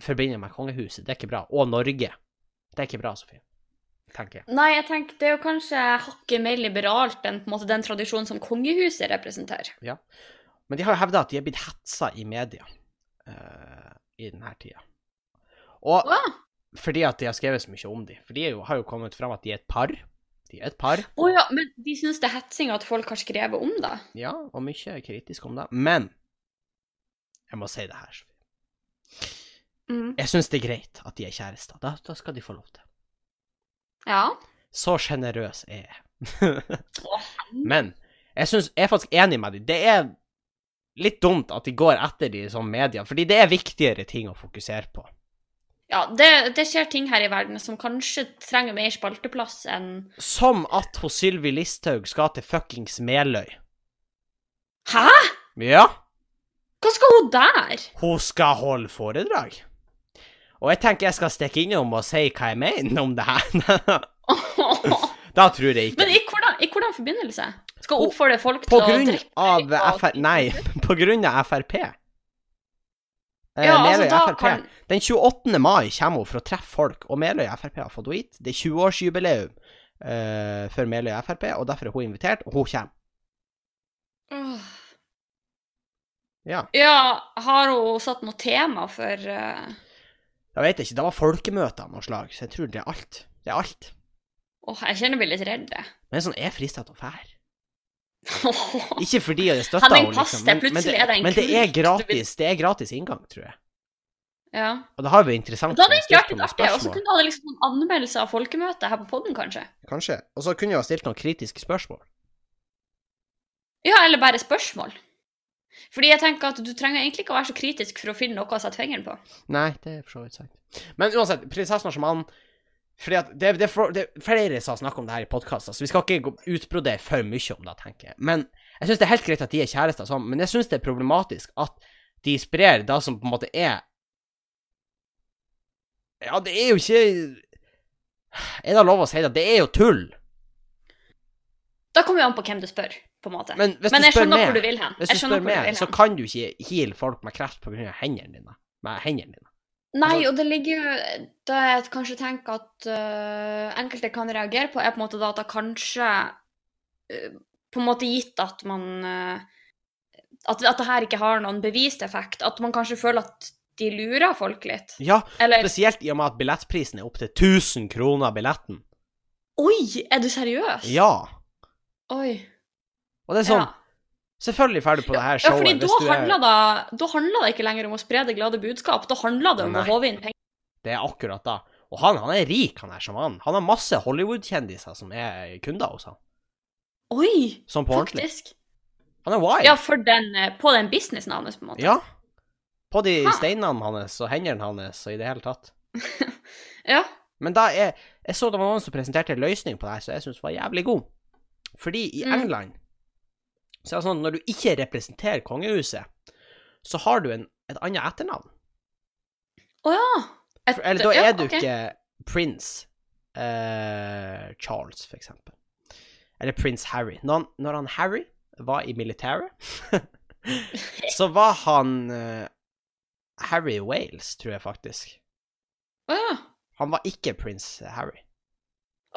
A: forbindet med kongehuset. Det er ikke bra. Og Norge. Det er ikke bra, Sofie. Tenker jeg.
B: Nei, jeg tenker det er jo kanskje hakket mer liberalt enn på en måte den tradisjonen som kongehuset representerer.
A: Men de har jo hevda at de er blitt hetsa i media eh, i denne tida. Og
B: Å
A: fordi at de har skrevet så mye om dem. For de er jo, har jo kommet fram at de er et par. De er et par,
B: Å ja, men de syns det er hetsing at folk har skrevet om det?
A: ja, og mye er kritisk om det. Men jeg må si det her.
B: Mm.
A: Jeg syns det er greit at de er kjærester. Da, da skal de få lov til.
B: Ja.
A: Så sjenerøs er jeg. Men jeg, synes, jeg er faktisk enig med dem. Det er litt dumt at de går etter de som media, fordi det er viktigere ting å fokusere på.
B: ja det, det skjer ting her i verden som kanskje trenger mer spalteplass enn
A: Som at hos Sylvi Listhaug skal til fuckings Meløy.
B: Hæ?!
A: Ja,
B: Hva skal hun der?
A: hun skal holde foredrag. Og jeg tenker jeg skal stikke innom og si hva jeg mener om det her. da tror jeg
B: men
A: ikke.
B: i hvordan, i hvordan forbindelse? Skal hun oppfordre folk
A: På
B: til å
A: grunn eh,
B: drikke?
A: av
B: og-
A: FR... Nei, på grunn av Frp. Eh,
B: Ja, altså,
A: Meløy
B: da
A: Frp.
B: kan
A: Den 28. mai kommer hun for å treffe folk, og Meløy Frp har fått henne hit. Det er 20-årsjubileum eh, for Meløy Frp, og derfor er hun invitert, og hun kommer.
B: Åh.
A: Ja.
B: Ja, har hun satt noe tema for eh,
A: Jeg vet ikke, det var folkemøter av noe slag, så jeg tror det er alt. Det er alt.
B: Åh, jeg kjenner jeg blir litt redd. jeg.
A: Men sånn, jeg er frista til å fære.
B: Åh.
A: Ikke fordi jeg støtter
B: Han er en
A: henne, liksom,
B: paste,
A: men, men,
B: plutselig
A: det,
B: er det en
A: men det er
B: kult.
A: gratis det er gratis inngang, tror jeg.
B: ja.
A: Og det har jo vært interessant.
B: Da
A: å
B: hadde det egentlig
A: stilt
B: vært litt
A: noen
B: artig. Og så
A: spørsmål.
B: kunne du hatt liksom noen anmeldelser av folkemøtet her på podden, kanskje.
A: Kanskje. Og så kunne jeg ha stilt noen kritiske spørsmål.
B: Ja, eller bare spørsmål. Fordi jeg tenker at du trenger egentlig ikke å være så kritisk for å finne noe å sette fingeren på.
A: Nei, det er for så vidt sant. Men uansett, prinsessen og sjamanen fordi at det, det, er for, det er flere som har snakket om det her i podkaster, så vi skal ikke gå- utbrodere for mye om det, tenker jeg. Men jeg syns det er helt greit at de er kjærester og sånn, men jeg syns det er problematisk at de sprer det som på en måte er Ja, det er jo ikke Er det lov å si det? Det er jo tull.
B: Da kommer jo an på hvem du spør, på en måte. Men,
A: Men hvis du
B: jeg
A: spør
B: skjønner hvor
A: meg,
B: du vil hen.
A: hvis du
B: Jeg
A: spør
B: skjønner hvor du
A: meg,
B: vil
A: så
B: hen.
A: kan du ikke heale folk med kreft på grunn av hendene dine. Med hendene dine.
B: Nei, og det ligger jo Da jeg kanskje tenker at øh, enkelte kan reagere på, er på en måte da at det kanskje øh, På en måte gitt at man øh, at, at det her ikke har noen bevist effekt. At man kanskje føler at de lurer folk litt.
A: Ja,
B: Eller
A: spesielt i og med at billettprisen er opptil 1000 kroner billetten.
B: Oi, er du seriøs?
A: Ja.
B: Oi.
A: Og det er sånn
B: ja.
A: Selvfølgelig ferdig på det her
B: ja,
A: showet.
B: fordi da
A: hvis du er,
B: handler, det, da handler det ikke lenger om å spre det glade budskap. Da handler det om
A: Nei.
B: å håve inn penger.
A: det er akkurat da. Og han, han er rik, han her sjamanen. Han har masse Hollywood-kjendiser som er kunder hos han.
B: Oi,
A: Sånn på ordentlig.
B: faktisk.
A: Han er wild.
B: Ja, for den, øh, på den businessen hans, på en måte.
A: Ja. På de
B: Ha.
A: steinene hans og hendene hans og i det hele tatt.
B: ja.
A: Men da er Jeg så det var noen som presenterte en løsning på det her, som jeg syns var jævlig god. Fordi i
B: Mm.
A: England så er det sånn når du ikke representerer kongehuset, så har du en, et annet etternavn.
B: Å ja. Et-
A: For, eller da
B: ja,
A: er du
B: ok.
A: ikke prins eh, Charles, for eksempel. Eller prins Harry. Når han, når han Harry var i militæret, så var han eh, Harry Wales, tror jeg faktisk.
B: Å ja.
A: Han var ikke prins Harry.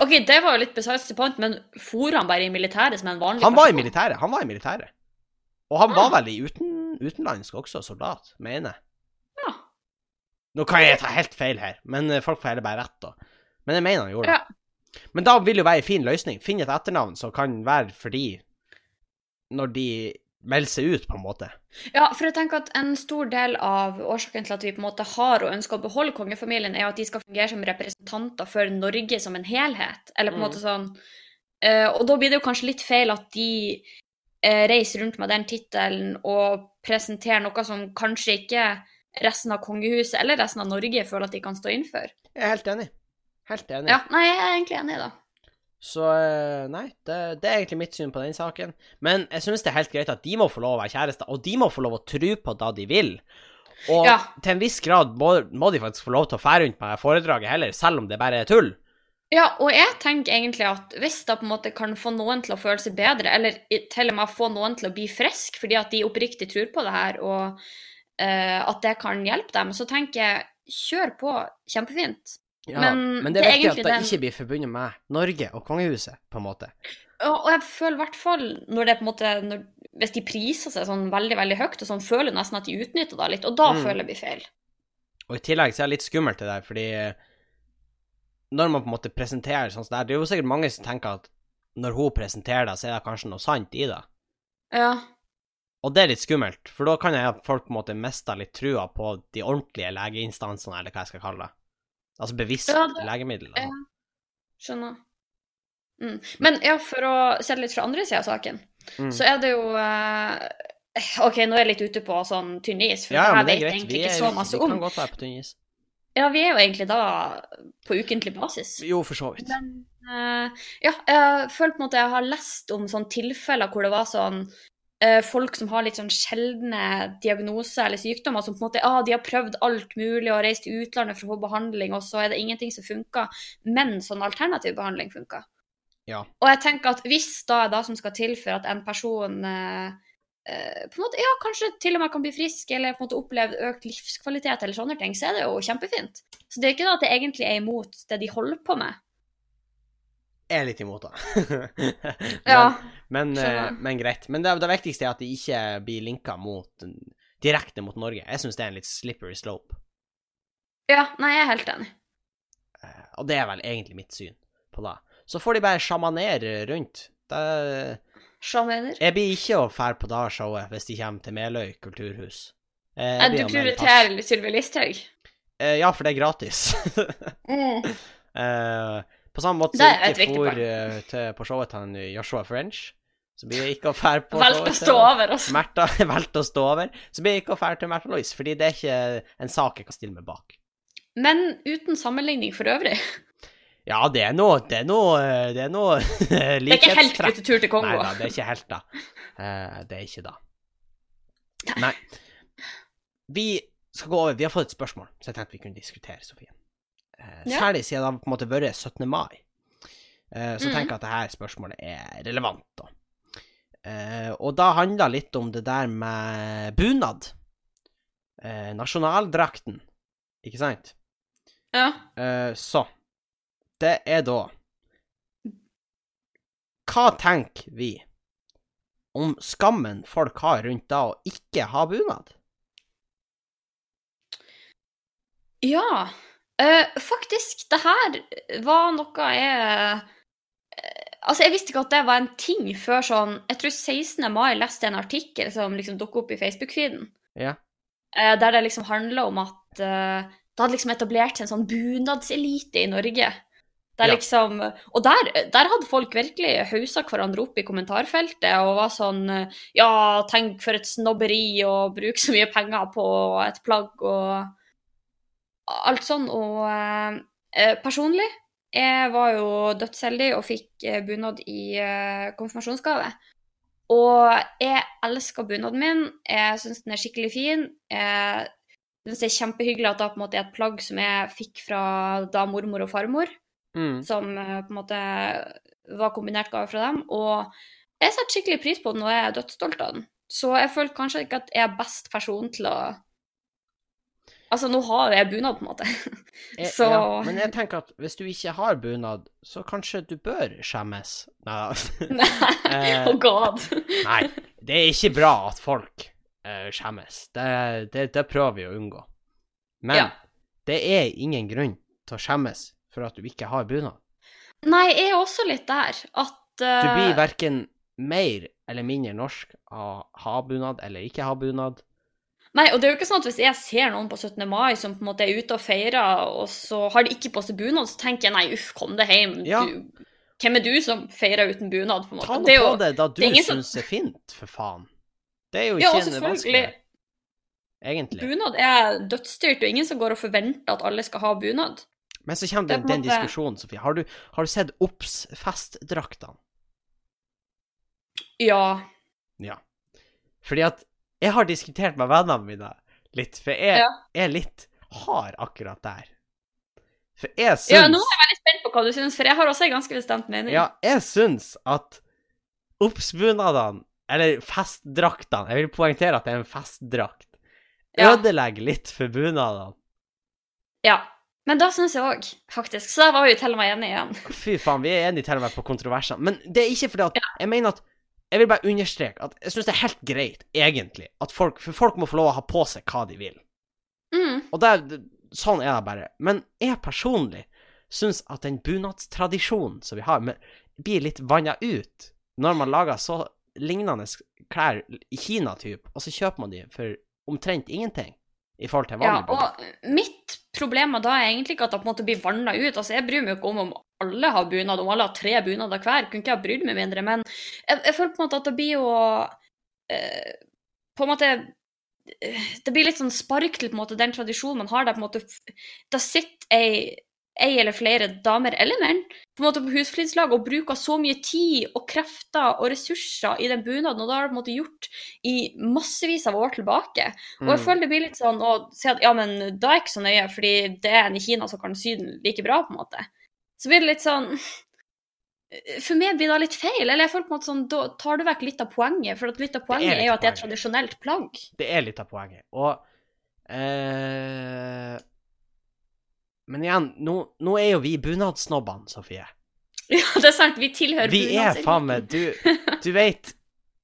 B: OK, det var jo litt beside the point, men for han bare i militæret som en vanlig
A: Han var i
B: person?
A: militæret. Han var i militæret. Og han var vel i uten, utenlandsk også, soldat, mener jeg.
B: Ja.
A: Nå kan jeg ta helt feil her, men eh, folk får heller bare rett, da. Men jeg mener han gjorde det.
B: Ja.
A: Men da vil jo være en fin løsning. Finn et etternavn som kan være for de når de melder seg ut, på en måte.
B: Ja, for jeg tenker at en stor del av årsaken til at vi på en måte har og ønsker å beholde kongefamilien, er jo at de skal fungere som representanter for Norge som en helhet. Eller på en
A: Mm.
B: måte sånn eh, Og da blir det jo kanskje litt feil at de eh, reiser rundt med den tittelen og presenterer noe som kanskje ikke resten av kongehuset eller resten av Norge føler at de kan stå innenfor.
A: Jeg er helt enig. Helt enig.
B: Ja, nei, jeg er egentlig enig, da.
A: Så eh, nei, det, det er egentlig mitt syn på den saken. Men jeg syns det er helt greit at de må få lov å være kjærester, og de må få lov å tro på det de vil. Og
B: Ja.
A: til en viss grad må, må de faktisk få lov til å fære rundt på det foredraget heller, selv om det bare er tull.
B: Ja, og jeg tenker egentlig at hvis det på en måte kan få noen til å føle seg bedre, eller i- til og med få noen til å bli frisk fordi at de oppriktig tror på det her, og eh, at det kan hjelpe dem, så tenker jeg kjør på, kjempefint.
A: Ja,
B: Men
A: det
B: det
A: er
B: er
A: viktig
B: egentlig
A: at det
B: den-
A: ikke blir forbundet med Norge og kongehuset, på en måte.
B: Og, og jeg føler i hvert fall når det på en måte når, Hvis de priser seg sånn veldig, veldig høyt, og sånn føler jeg nesten at de utnytter det litt, og da
A: Mm.
B: føler jeg det blir feil.
A: Og i tillegg så er det litt skummelt det der, fordi eh, når man på en måte presenterer sånn som det her, det er jo sikkert mange som tenker at når hun presenterer det, så er det kanskje noe sant i det.
B: Ja.
A: Og det er litt skummelt, for da kan jeg at folk på en måte miste litt trua på de ordentlige legeinstansene, eller hva jeg skal kalle det. Altså bevisst
B: Ja, det-
A: legemiddel.
B: ja. Skjønner. Mm. Men ja, for å se det litt fra andre sida av saken,
A: Mm.
B: så er det jo eh, OK, nå er jeg litt ute på sånn tynn is, for
A: Ja, ja,
B: det
A: men det
B: her vet
A: er greit.
B: jeg
A: Vi,
B: egentlig ikke
A: er,
B: så masse
A: vi
B: om.
A: kan godt være på tynn is.
B: Ja, vi er jo egentlig da på ukentlig basis.
A: Jo, for så vidt.
B: Men eh, ja, jeg føler på en måte jeg har lest om sånne tilfeller hvor det var sånn eh, folk som har litt sånn sjeldne diagnoser eller sykdommer, som på en måte ah, de har prøvd alt mulig og reist til utlandet for å få behandling, og så er det ingenting som funker, men sånn alternativ behandling funker.
A: Ja.
B: Og jeg tenker at hvis da er det som skal til for at en person eh, eh, på en måte, ja, Kanskje til og med kan bli frisk eller på en måte oppleve økt livskvalitet, eller sånne ting, så er det jo kjempefint. Så det er ikke da at jeg egentlig er imot det de holder på med.
A: Jeg er litt imot det. Men-
B: Ja.
A: Men, eh,
B: Skjønner.
A: men greit. Men det, det viktigste er at de ikke blir linka mot, direkte mot Norge. Jeg syns det er en litt slippery slope.
B: Ja, nei, jeg er helt enig.
A: Eh, Og det er vel egentlig mitt syn på det. Så får de bare sjamanere rundt. Det,
B: Sjamaner.
A: jeg blir ikke å fære på det showet hvis de kommer til Meløy kulturhus. Eh, jeg
B: Du
A: blir å melde pass.
B: prioriterer Sylvi Listhaug.
A: Eh, Ja, for det er gratis. Eh, på samme måte
B: Det
A: som
B: er et
A: jeg ikke
B: viktig
A: for
B: poeng.
A: eh, til, på showet til han eh, Joshua French, så blir jeg ikke å fære på
B: Velg å
A: showet
B: stå
A: til-
B: over oss.
A: Märtha valgte å stå over, så blir jeg ikke ferdig til Märtha Louise, fordi det er ikke en sak jeg kan stille meg bak.
B: Men uten sammenligning for øvrig.
A: Ja, det er noe Det er noe, eh, det er noe
B: Det er ikke helt
A: likhetstrekk.
B: guttetur til
A: Nei
B: Kongo.
A: da, det er ikke helt, da. Eh, det er ikke da. Nei. Vi skal gå over. Vi har fått et spørsmål så jeg tenkte vi kunne diskutere, Sofie. Eh,
B: Ja.
A: særlig siden det har på en måte vært 17. mai. Eh, så
B: Mm.
A: tenker jeg at dette spørsmålet er relevant, da. Eh, og da handler det litt om det der med bunad. Eh, nasjonaldrakten, ikke sant?
B: Ja.
A: Eh, så Det er da Hva tenker vi om skammen folk har rundt da å ikke ha bunad?
B: ja. Eh, faktisk, det her var noe jeg eh, Altså, jeg visste ikke at det var en ting før sånn Jeg tror 16. mai leste jeg en artikkel som liksom dukket opp i Facebook-feeden.
A: Ja.
B: Eh, der det liksom handla om at eh, det hadde liksom etablert seg en sånn bunadselite i Norge. Der
A: Ja.
B: liksom, og der, der hadde folk virkelig hausa hverandre opp i kommentarfeltet og var sånn eh, Ja, tenk for et snobberi å bruke så mye penger på et plagg og alt sånn. Og eh, personlig, jeg var jo dødsheldig og fikk eh, bunad i eh, konfirmasjonsgave. Og jeg elsker bunaden min. Jeg syns den er skikkelig fin. Jeg eh, Jeg synes det er kjempehyggelig at det på en måte er et plagg som jeg fikk fra da mormor og farmor,
A: Mm.
B: som eh, på en måte var kombinert gave fra dem. Og jeg setter skikkelig pris på den, og jeg er dødsstolt av den. Så jeg føler kanskje ikke at jeg er best person til å Altså, nå har jeg bunad, på en måte.
A: Eh,
B: Så-
A: ja, men jeg tenker at hvis du ikke har bunad, så kanskje du bør skjemmes. Nei
B: Nei.
A: Eh,
B: Oh god.
A: Nei, det er ikke bra at folk eh, skjemmes. Det, det, det prøver vi å unngå. Men
B: Ja.
A: det er ingen grunn til å skjemmes for at du ikke har bunad.
B: Nei, jeg er også litt der at
A: Du
B: eh,
A: blir verken mer eller mindre norsk av å ha bunad eller ikke ha bunad.
B: Nei, og det er jo ikke sånn at hvis jeg ser noen på 17. mai som på en måte er ute og feirer, og så har de ikke på seg bunad, så tenker jeg nei, uff, kom deg hjem.
A: Ja.
B: Du, hvem er du som feirer uten bunad, på en måte?
A: Ta nå
B: Det er
A: på
B: jo-
A: det da du
B: det er ingen som-
A: syns er fint, for faen. Det er jo
B: Ja,
A: ikke
B: og
A: en vanskelig
B: selvfølgelig.
A: Egentlig.
B: Bunad er dødsstyrt, og ingen som går og forventer at alle skal ha bunad.
A: Men så kommer
B: Det er
A: den,
B: på
A: den
B: en måte-
A: diskusjonen, Sofie. Har du, har du sett Ops festdraktene?
B: Ja.
A: Fordi at jeg har diskutert med vennene mine litt, for jeg
B: Ja.
A: er litt hard akkurat der. For jeg syns
B: ja. Nå er jeg veldig spent på hva du syns, for jeg har også en ganske bestemt mening.
A: Ja, jeg syns at oppsbunadene, eller festdraktene Jeg vil poengtere at det er en festdrakt.
B: Ja.
A: Ødelegger litt for bunadene.
B: Ja. Men da syns jeg òg, faktisk. Så der var vi til og med enige igjen.
A: Fy faen, vi er enige til og med på kontroversene. Men det er ikke fordi at Jeg mener at Jeg vil bare understreke at jeg syns det er helt greit, egentlig, at folk For folk må få lov å ha på seg hva de vil.
B: Mm.
A: Og det, er- det- sånn er det bare. Men jeg personlig syns at den bunadstradisjonen som vi har, med, blir litt vanna ut når man lager så lignende klær i Kina, typ, og så kjøper man de for omtrent ingenting i forhold til
B: Ja,
A: vanlig bunad.
B: og mitt problem da er egentlig ikke at det på en måte blir vanna ut. Altså, Jeg bryr meg jo ikke om om alle har bunad, om alle har tre bunader hver. Kunne ikke ha brydd meg mindre. Men jeg, jeg føler på en måte at det blir jo eh, På en måte eh, Det blir litt sånn spark til på en måte den tradisjonen man har der på en måte f- Da sitter ei ei eller flere damer eller menn på en måte på husflidslag og bruker så mye tid og krefter og ressurser i den bunaden, og det har de på en måte gjort i massevis av år tilbake. Og jeg
A: Mm.
B: føler det blir litt sånn å si at ja, men da er jeg ikke så nøye, fordi det er en i Kina som kan sy den like bra, på en måte. Så blir det litt sånn For meg blir det litt feil. Eller jeg føler på en måte sånn, da tar du vekk litt av poenget. For at litt av poenget
A: litt
B: er, jo
A: av
B: at det er et
A: poenget.
B: tradisjonelt plagg.
A: Det er litt av poenget. Og eh, Men igjen, nå, nå er jo vi bunadsnobbene, Sofie.
B: Ja, det er sant. Vi tilhører
A: Vi er
B: bunadseliten.
A: faen meg Du, du vet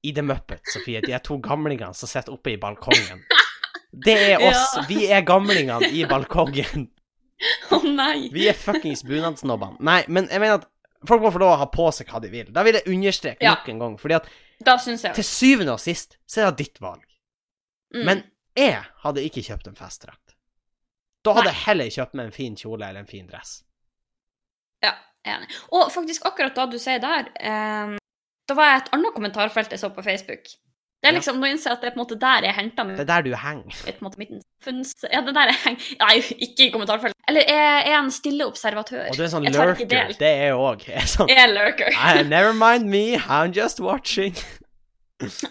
A: I The Muppets, Sofie, de er to gamlingene som sitter oppe i balkongen. Det er oss.
B: Ja.
A: Vi er gamlingene i balkongen.
B: Å nei.
A: Vi er fuckings bunadsnobbene. Nei, men jeg mener at folk må få lov å ha på seg hva de vil. Da vil jeg understreke
B: Ja.
A: nok en gang, fordi at
B: Da syns jeg
A: til syvende og sist så er det ditt valg.
B: mm.
A: Men jeg hadde ikke kjøpt en festdrakt. Da hadde jeg heller kjøpt meg en fin kjole eller en fin dress.
B: Enig. Og faktisk, akkurat da du sier der, eh, da var jeg et annet kommentarfelt jeg så på Facebook. Det er
A: Ja.
B: liksom, Nå innser jeg at det er på en måte der jeg henta min
A: Det er der du henger.
B: på en måte midten. Funns, ja, det der er Nei, ikke i kommentarfeltet. Eller jeg er en stille observatør.
A: Og du er sånn
B: Jeg tar ikke
A: lurker.
B: del.
A: Det er jeg òg. Jeg er sånn
B: Jeg er lurker.
A: I, never mind me, I'm just watching.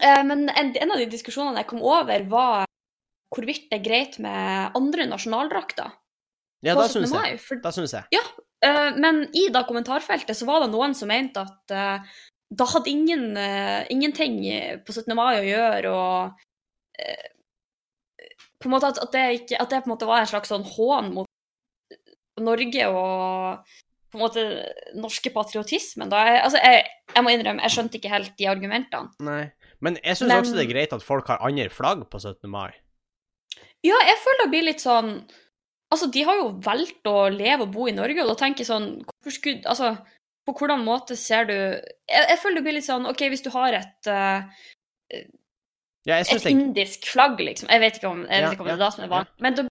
B: Eh, Men en, en av de diskusjonene jeg kom over, var hvorvidt det er greit med andre nasjonaldrakter
A: Ja,
B: på
A: da
B: 17.
A: syns jeg.
B: mai. For,
A: Da syns jeg.
B: eh, men i da kommentarfeltet så var det noen som mente at eh, da hadde ingen, eh, ingenting på 17. mai å gjøre, og eh, på en måte at, at, det ikke, at det på en måte var en slags sånn hån mot Norge og på en måte norske patriotismen. Da. Jeg, altså, jeg, jeg må innrømme, jeg skjønte ikke helt de argumentene.
A: Nei. Men jeg syns
B: Men-
A: også det er greit at folk har andre flagg på 17. mai.
B: Ja, jeg føler det blir litt sånn Altså, de har jo valgt å leve og bo i Norge, og da tenker jeg sånn Hvorfor skulle Altså, på hvordan måte ser du Jeg, jeg føler det blir litt sånn OK, hvis du har et eh,
A: Ja, jeg syns det
B: et indisk flagg, liksom. Jeg vet ikke om, jeg
A: Ja,
B: vet ikke om det
A: ja,
B: er det som er vanlig. Men da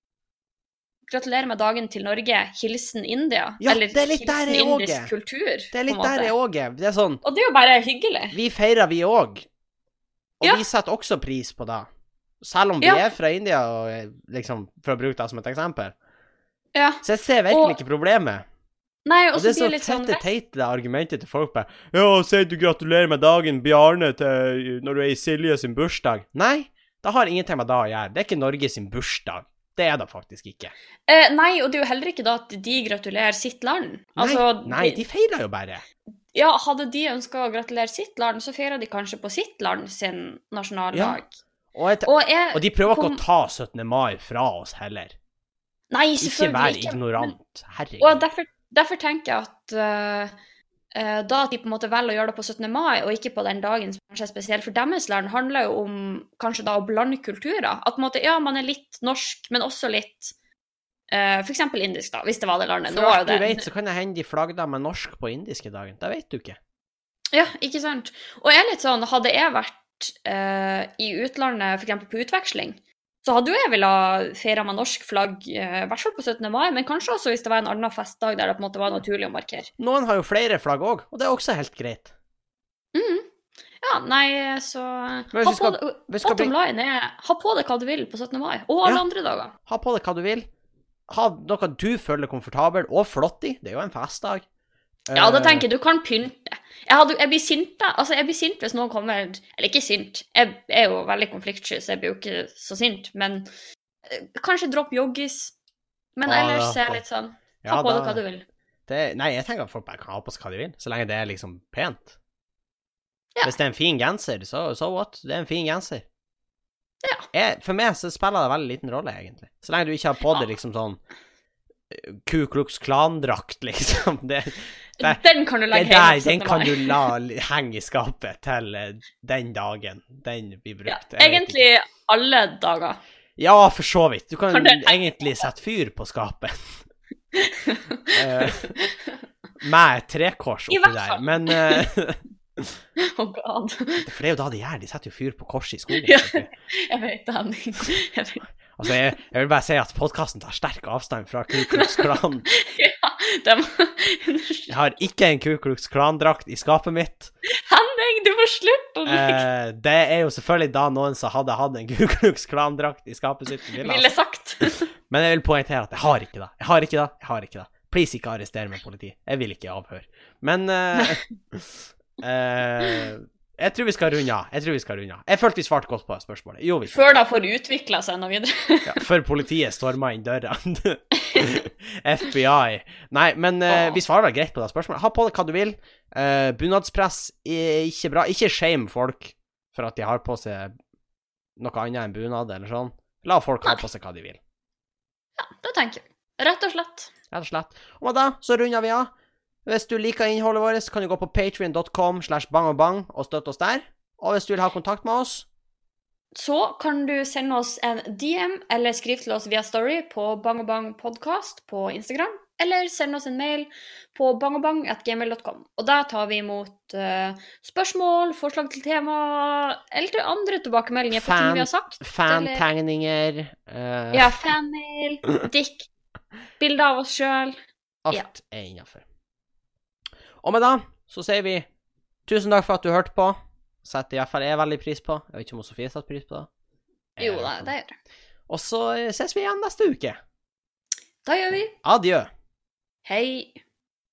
B: Gratulerer med dagen til Norge. Hilsen India.
A: Ja, det er litt der jeg
B: hilsen
A: også
B: indisk
A: er.
B: kultur.
A: Det er litt
B: på en måte.
A: der jeg òg er. Det er sånn
B: Og det er jo bare hyggelig.
A: Vi feirer, vi òg. Og
B: Ja.
A: vi setter også pris på det. Selv om vi
B: Ja.
A: er fra India, og eh, liksom, for å bruke det som et eksempel.
B: Ja.
A: Så jeg ser virkelig
B: Og-
A: ikke problemet.
B: Nei, og
A: Og
B: så
A: det er
B: blir
A: så
B: det litt sånn
A: fette teit, det argumentet til folk bare Ja, sier du gratulerer med dagen, Bjarne, til når du er i Silje sin bursdag? Nei, det har ingenting med det å gjøre. Det er ikke Norge sin bursdag. Det er det faktisk ikke.
B: Eh, nei, og det er jo heller ikke da at de gratulerer sitt land. Altså,
A: nei, nei, de feirer jo bare.
B: Ja, hadde de ønska å gratulere sitt land, så feirer de kanskje på sitt land sin nasjonaldag.
A: Og, jeg,
B: Og jeg
A: og de prøver ikke
B: kom-
A: å ta 17. mai fra oss heller.
B: Nei,
A: Ikke vær
B: selvfølgelig ikke.
A: ignorant. Herregud.
B: Og derfor, derfor tenker jeg at eh, eh, da at de på en måte velger å gjøre det på 17. mai, og ikke på den dagen som kanskje er spesiell for deres land, handler jo om kanskje da å blande kulturer. At på en måte, ja, man er litt norsk, men også litt eh, for eksempel indisk, da, hvis det var det landet. Nå
A: For
B: var jo
A: alt du
B: det-
A: vet, så kan det hende de flagger deg med norsk på indiske dagen. Det vet du ikke.
B: Ja, ikke sant. Og jeg er litt sånn, hadde jeg vært eh, i utlandet, f.eks. på utveksling, så hadde jo jeg villet ha feira med norsk flagg, eh, i hvert fall på 17. mai, men kanskje også hvis det var en annen festdag der det på en måte var naturlig å markere.
A: Noen har jo flere flagg òg, og det er også helt greit.
B: Mhm. Ja, nei, så
A: hvis vi
B: ha på,
A: skal-
B: det-
A: Vi skal
B: Bottom
A: bli,
B: line er ha på deg hva du vil på 17. mai, og alle
A: Ja.
B: andre dager.
A: ha på deg hva du vil. Ha noe du føler komfortabel og flott i. Det er jo en festdag.
B: Ja,
A: Eh,
B: da tenker jeg du kan pynte. Jeg, hadde, jeg blir sint da, altså jeg blir sint hvis noen kommer Eller ikke sint, jeg er jo veldig konfliktsky, så jeg blir jo ikke så sint, men eh, kanskje dropp joggis. Men
A: Ja,
B: ellers
A: ja.
B: er jeg litt sånn
A: eh,
B: Ha
A: ja,
B: på
A: da-
B: deg hva du vil.
A: Det, nei, jeg tenker at folk bare kan ha på seg hva de vil, så lenge det er liksom pent.
B: Ja.
A: Hvis det er en fin genser, så so what? Det er en fin genser.
B: Ja.
A: Jeg, for meg så spiller det veldig liten rolle, egentlig. Så lenge du ikke har på
B: Ah.
A: deg liksom sånn eh, Ku Klux Klan-drakt, liksom. Det, Det-
B: Den kan du
A: det
B: legge
A: der,
B: hjemme på
A: den
B: 17.
A: kan
B: mai.
A: du la li- henge i skapet til eh, den dagen den blir
B: Ja,
A: brukt. Jeg vet ikke.
B: egentlig alle dager.
A: Ja, for så vidt. Du kan
B: Kan du-
A: egentlig sette fyr på skapet. Eh, med et trekors
B: I
A: oppi
B: hvert
A: der.
B: fall.
A: Men eh,
B: Oh god.
A: For det er jo da de gjør, de setter jo fyr på korset i skogen.
B: Ja.
A: vet du.
B: Jeg vet det, Henning. Jeg vet.
A: Altså, jeg, jeg vil bare si at podkasten tar sterk avstand fra Ku Klux Klan.
B: Ja, det må...
A: Jeg har ikke en Ku Klux Klan-drakt i skapet mitt.
B: Henning, du må slutte å like
A: Eh, det er jo selvfølgelig da noen som hadde hatt en Ku Klux Klan-drakt i skapet sitt. ville ha-
B: Ville sagt.
A: Men jeg vil poengtere at jeg har ikke det. Jeg har ikke det. Jeg har ikke det. Please, ikke arrester meg, politi. Jeg vil ikke i avhør. Men eh, eh, Jeg tror vi skal runde av. Jeg tror vi skal runde av. Jeg følte vi svarte godt på spørsmålet. Jo, vi
B: Før det får utvikla seg noe videre.
A: Ja, før politiet storma inn døra. FBI. Nei, men eh,
B: Åh.
A: vi svarer vel greit på det spørsmålet. Ha på deg hva du vil. Eh, bunadspress er ikke bra. Ikke shame folk for at de har på seg noe annet enn bunad eller sånn. La folk ha
B: Nei.
A: på seg hva de vil,
B: Da tenker vi. Rett og slett.
A: rett og slett. Og med det så runder vi av. Hvis du liker innholdet vårt, så kan du gå på patrion.com slash bangobang og støtte oss der. Og hvis du vil ha kontakt med oss,
B: Så kan du sende oss en DM eller skriv til oss via Story på bangobangpodkast på Instagram. Eller send oss en mail på bangobang.gmail.com. Og der tar vi imot eh, spørsmål, forslag til tema, eller til andre tilbakemeldinger på
A: Fan.
B: ting vi har sagt.
A: fantegninger eh,
B: Ja, fanmail, dick, bilder av oss sjøl.
A: Alt er innafor. Og med det så sier vi tusen takk for at du hørte på. Setter iallfall jeg veldig pris på. Jeg vet ikke om Sofie setter pris på det. Jeg
B: Jo
A: gjør i
B: da,
A: hvert fall.
B: det gjør det.
A: Og så eh, ses vi igjen neste uke.
B: Da gjør vi.
A: Adjø.
B: Hei.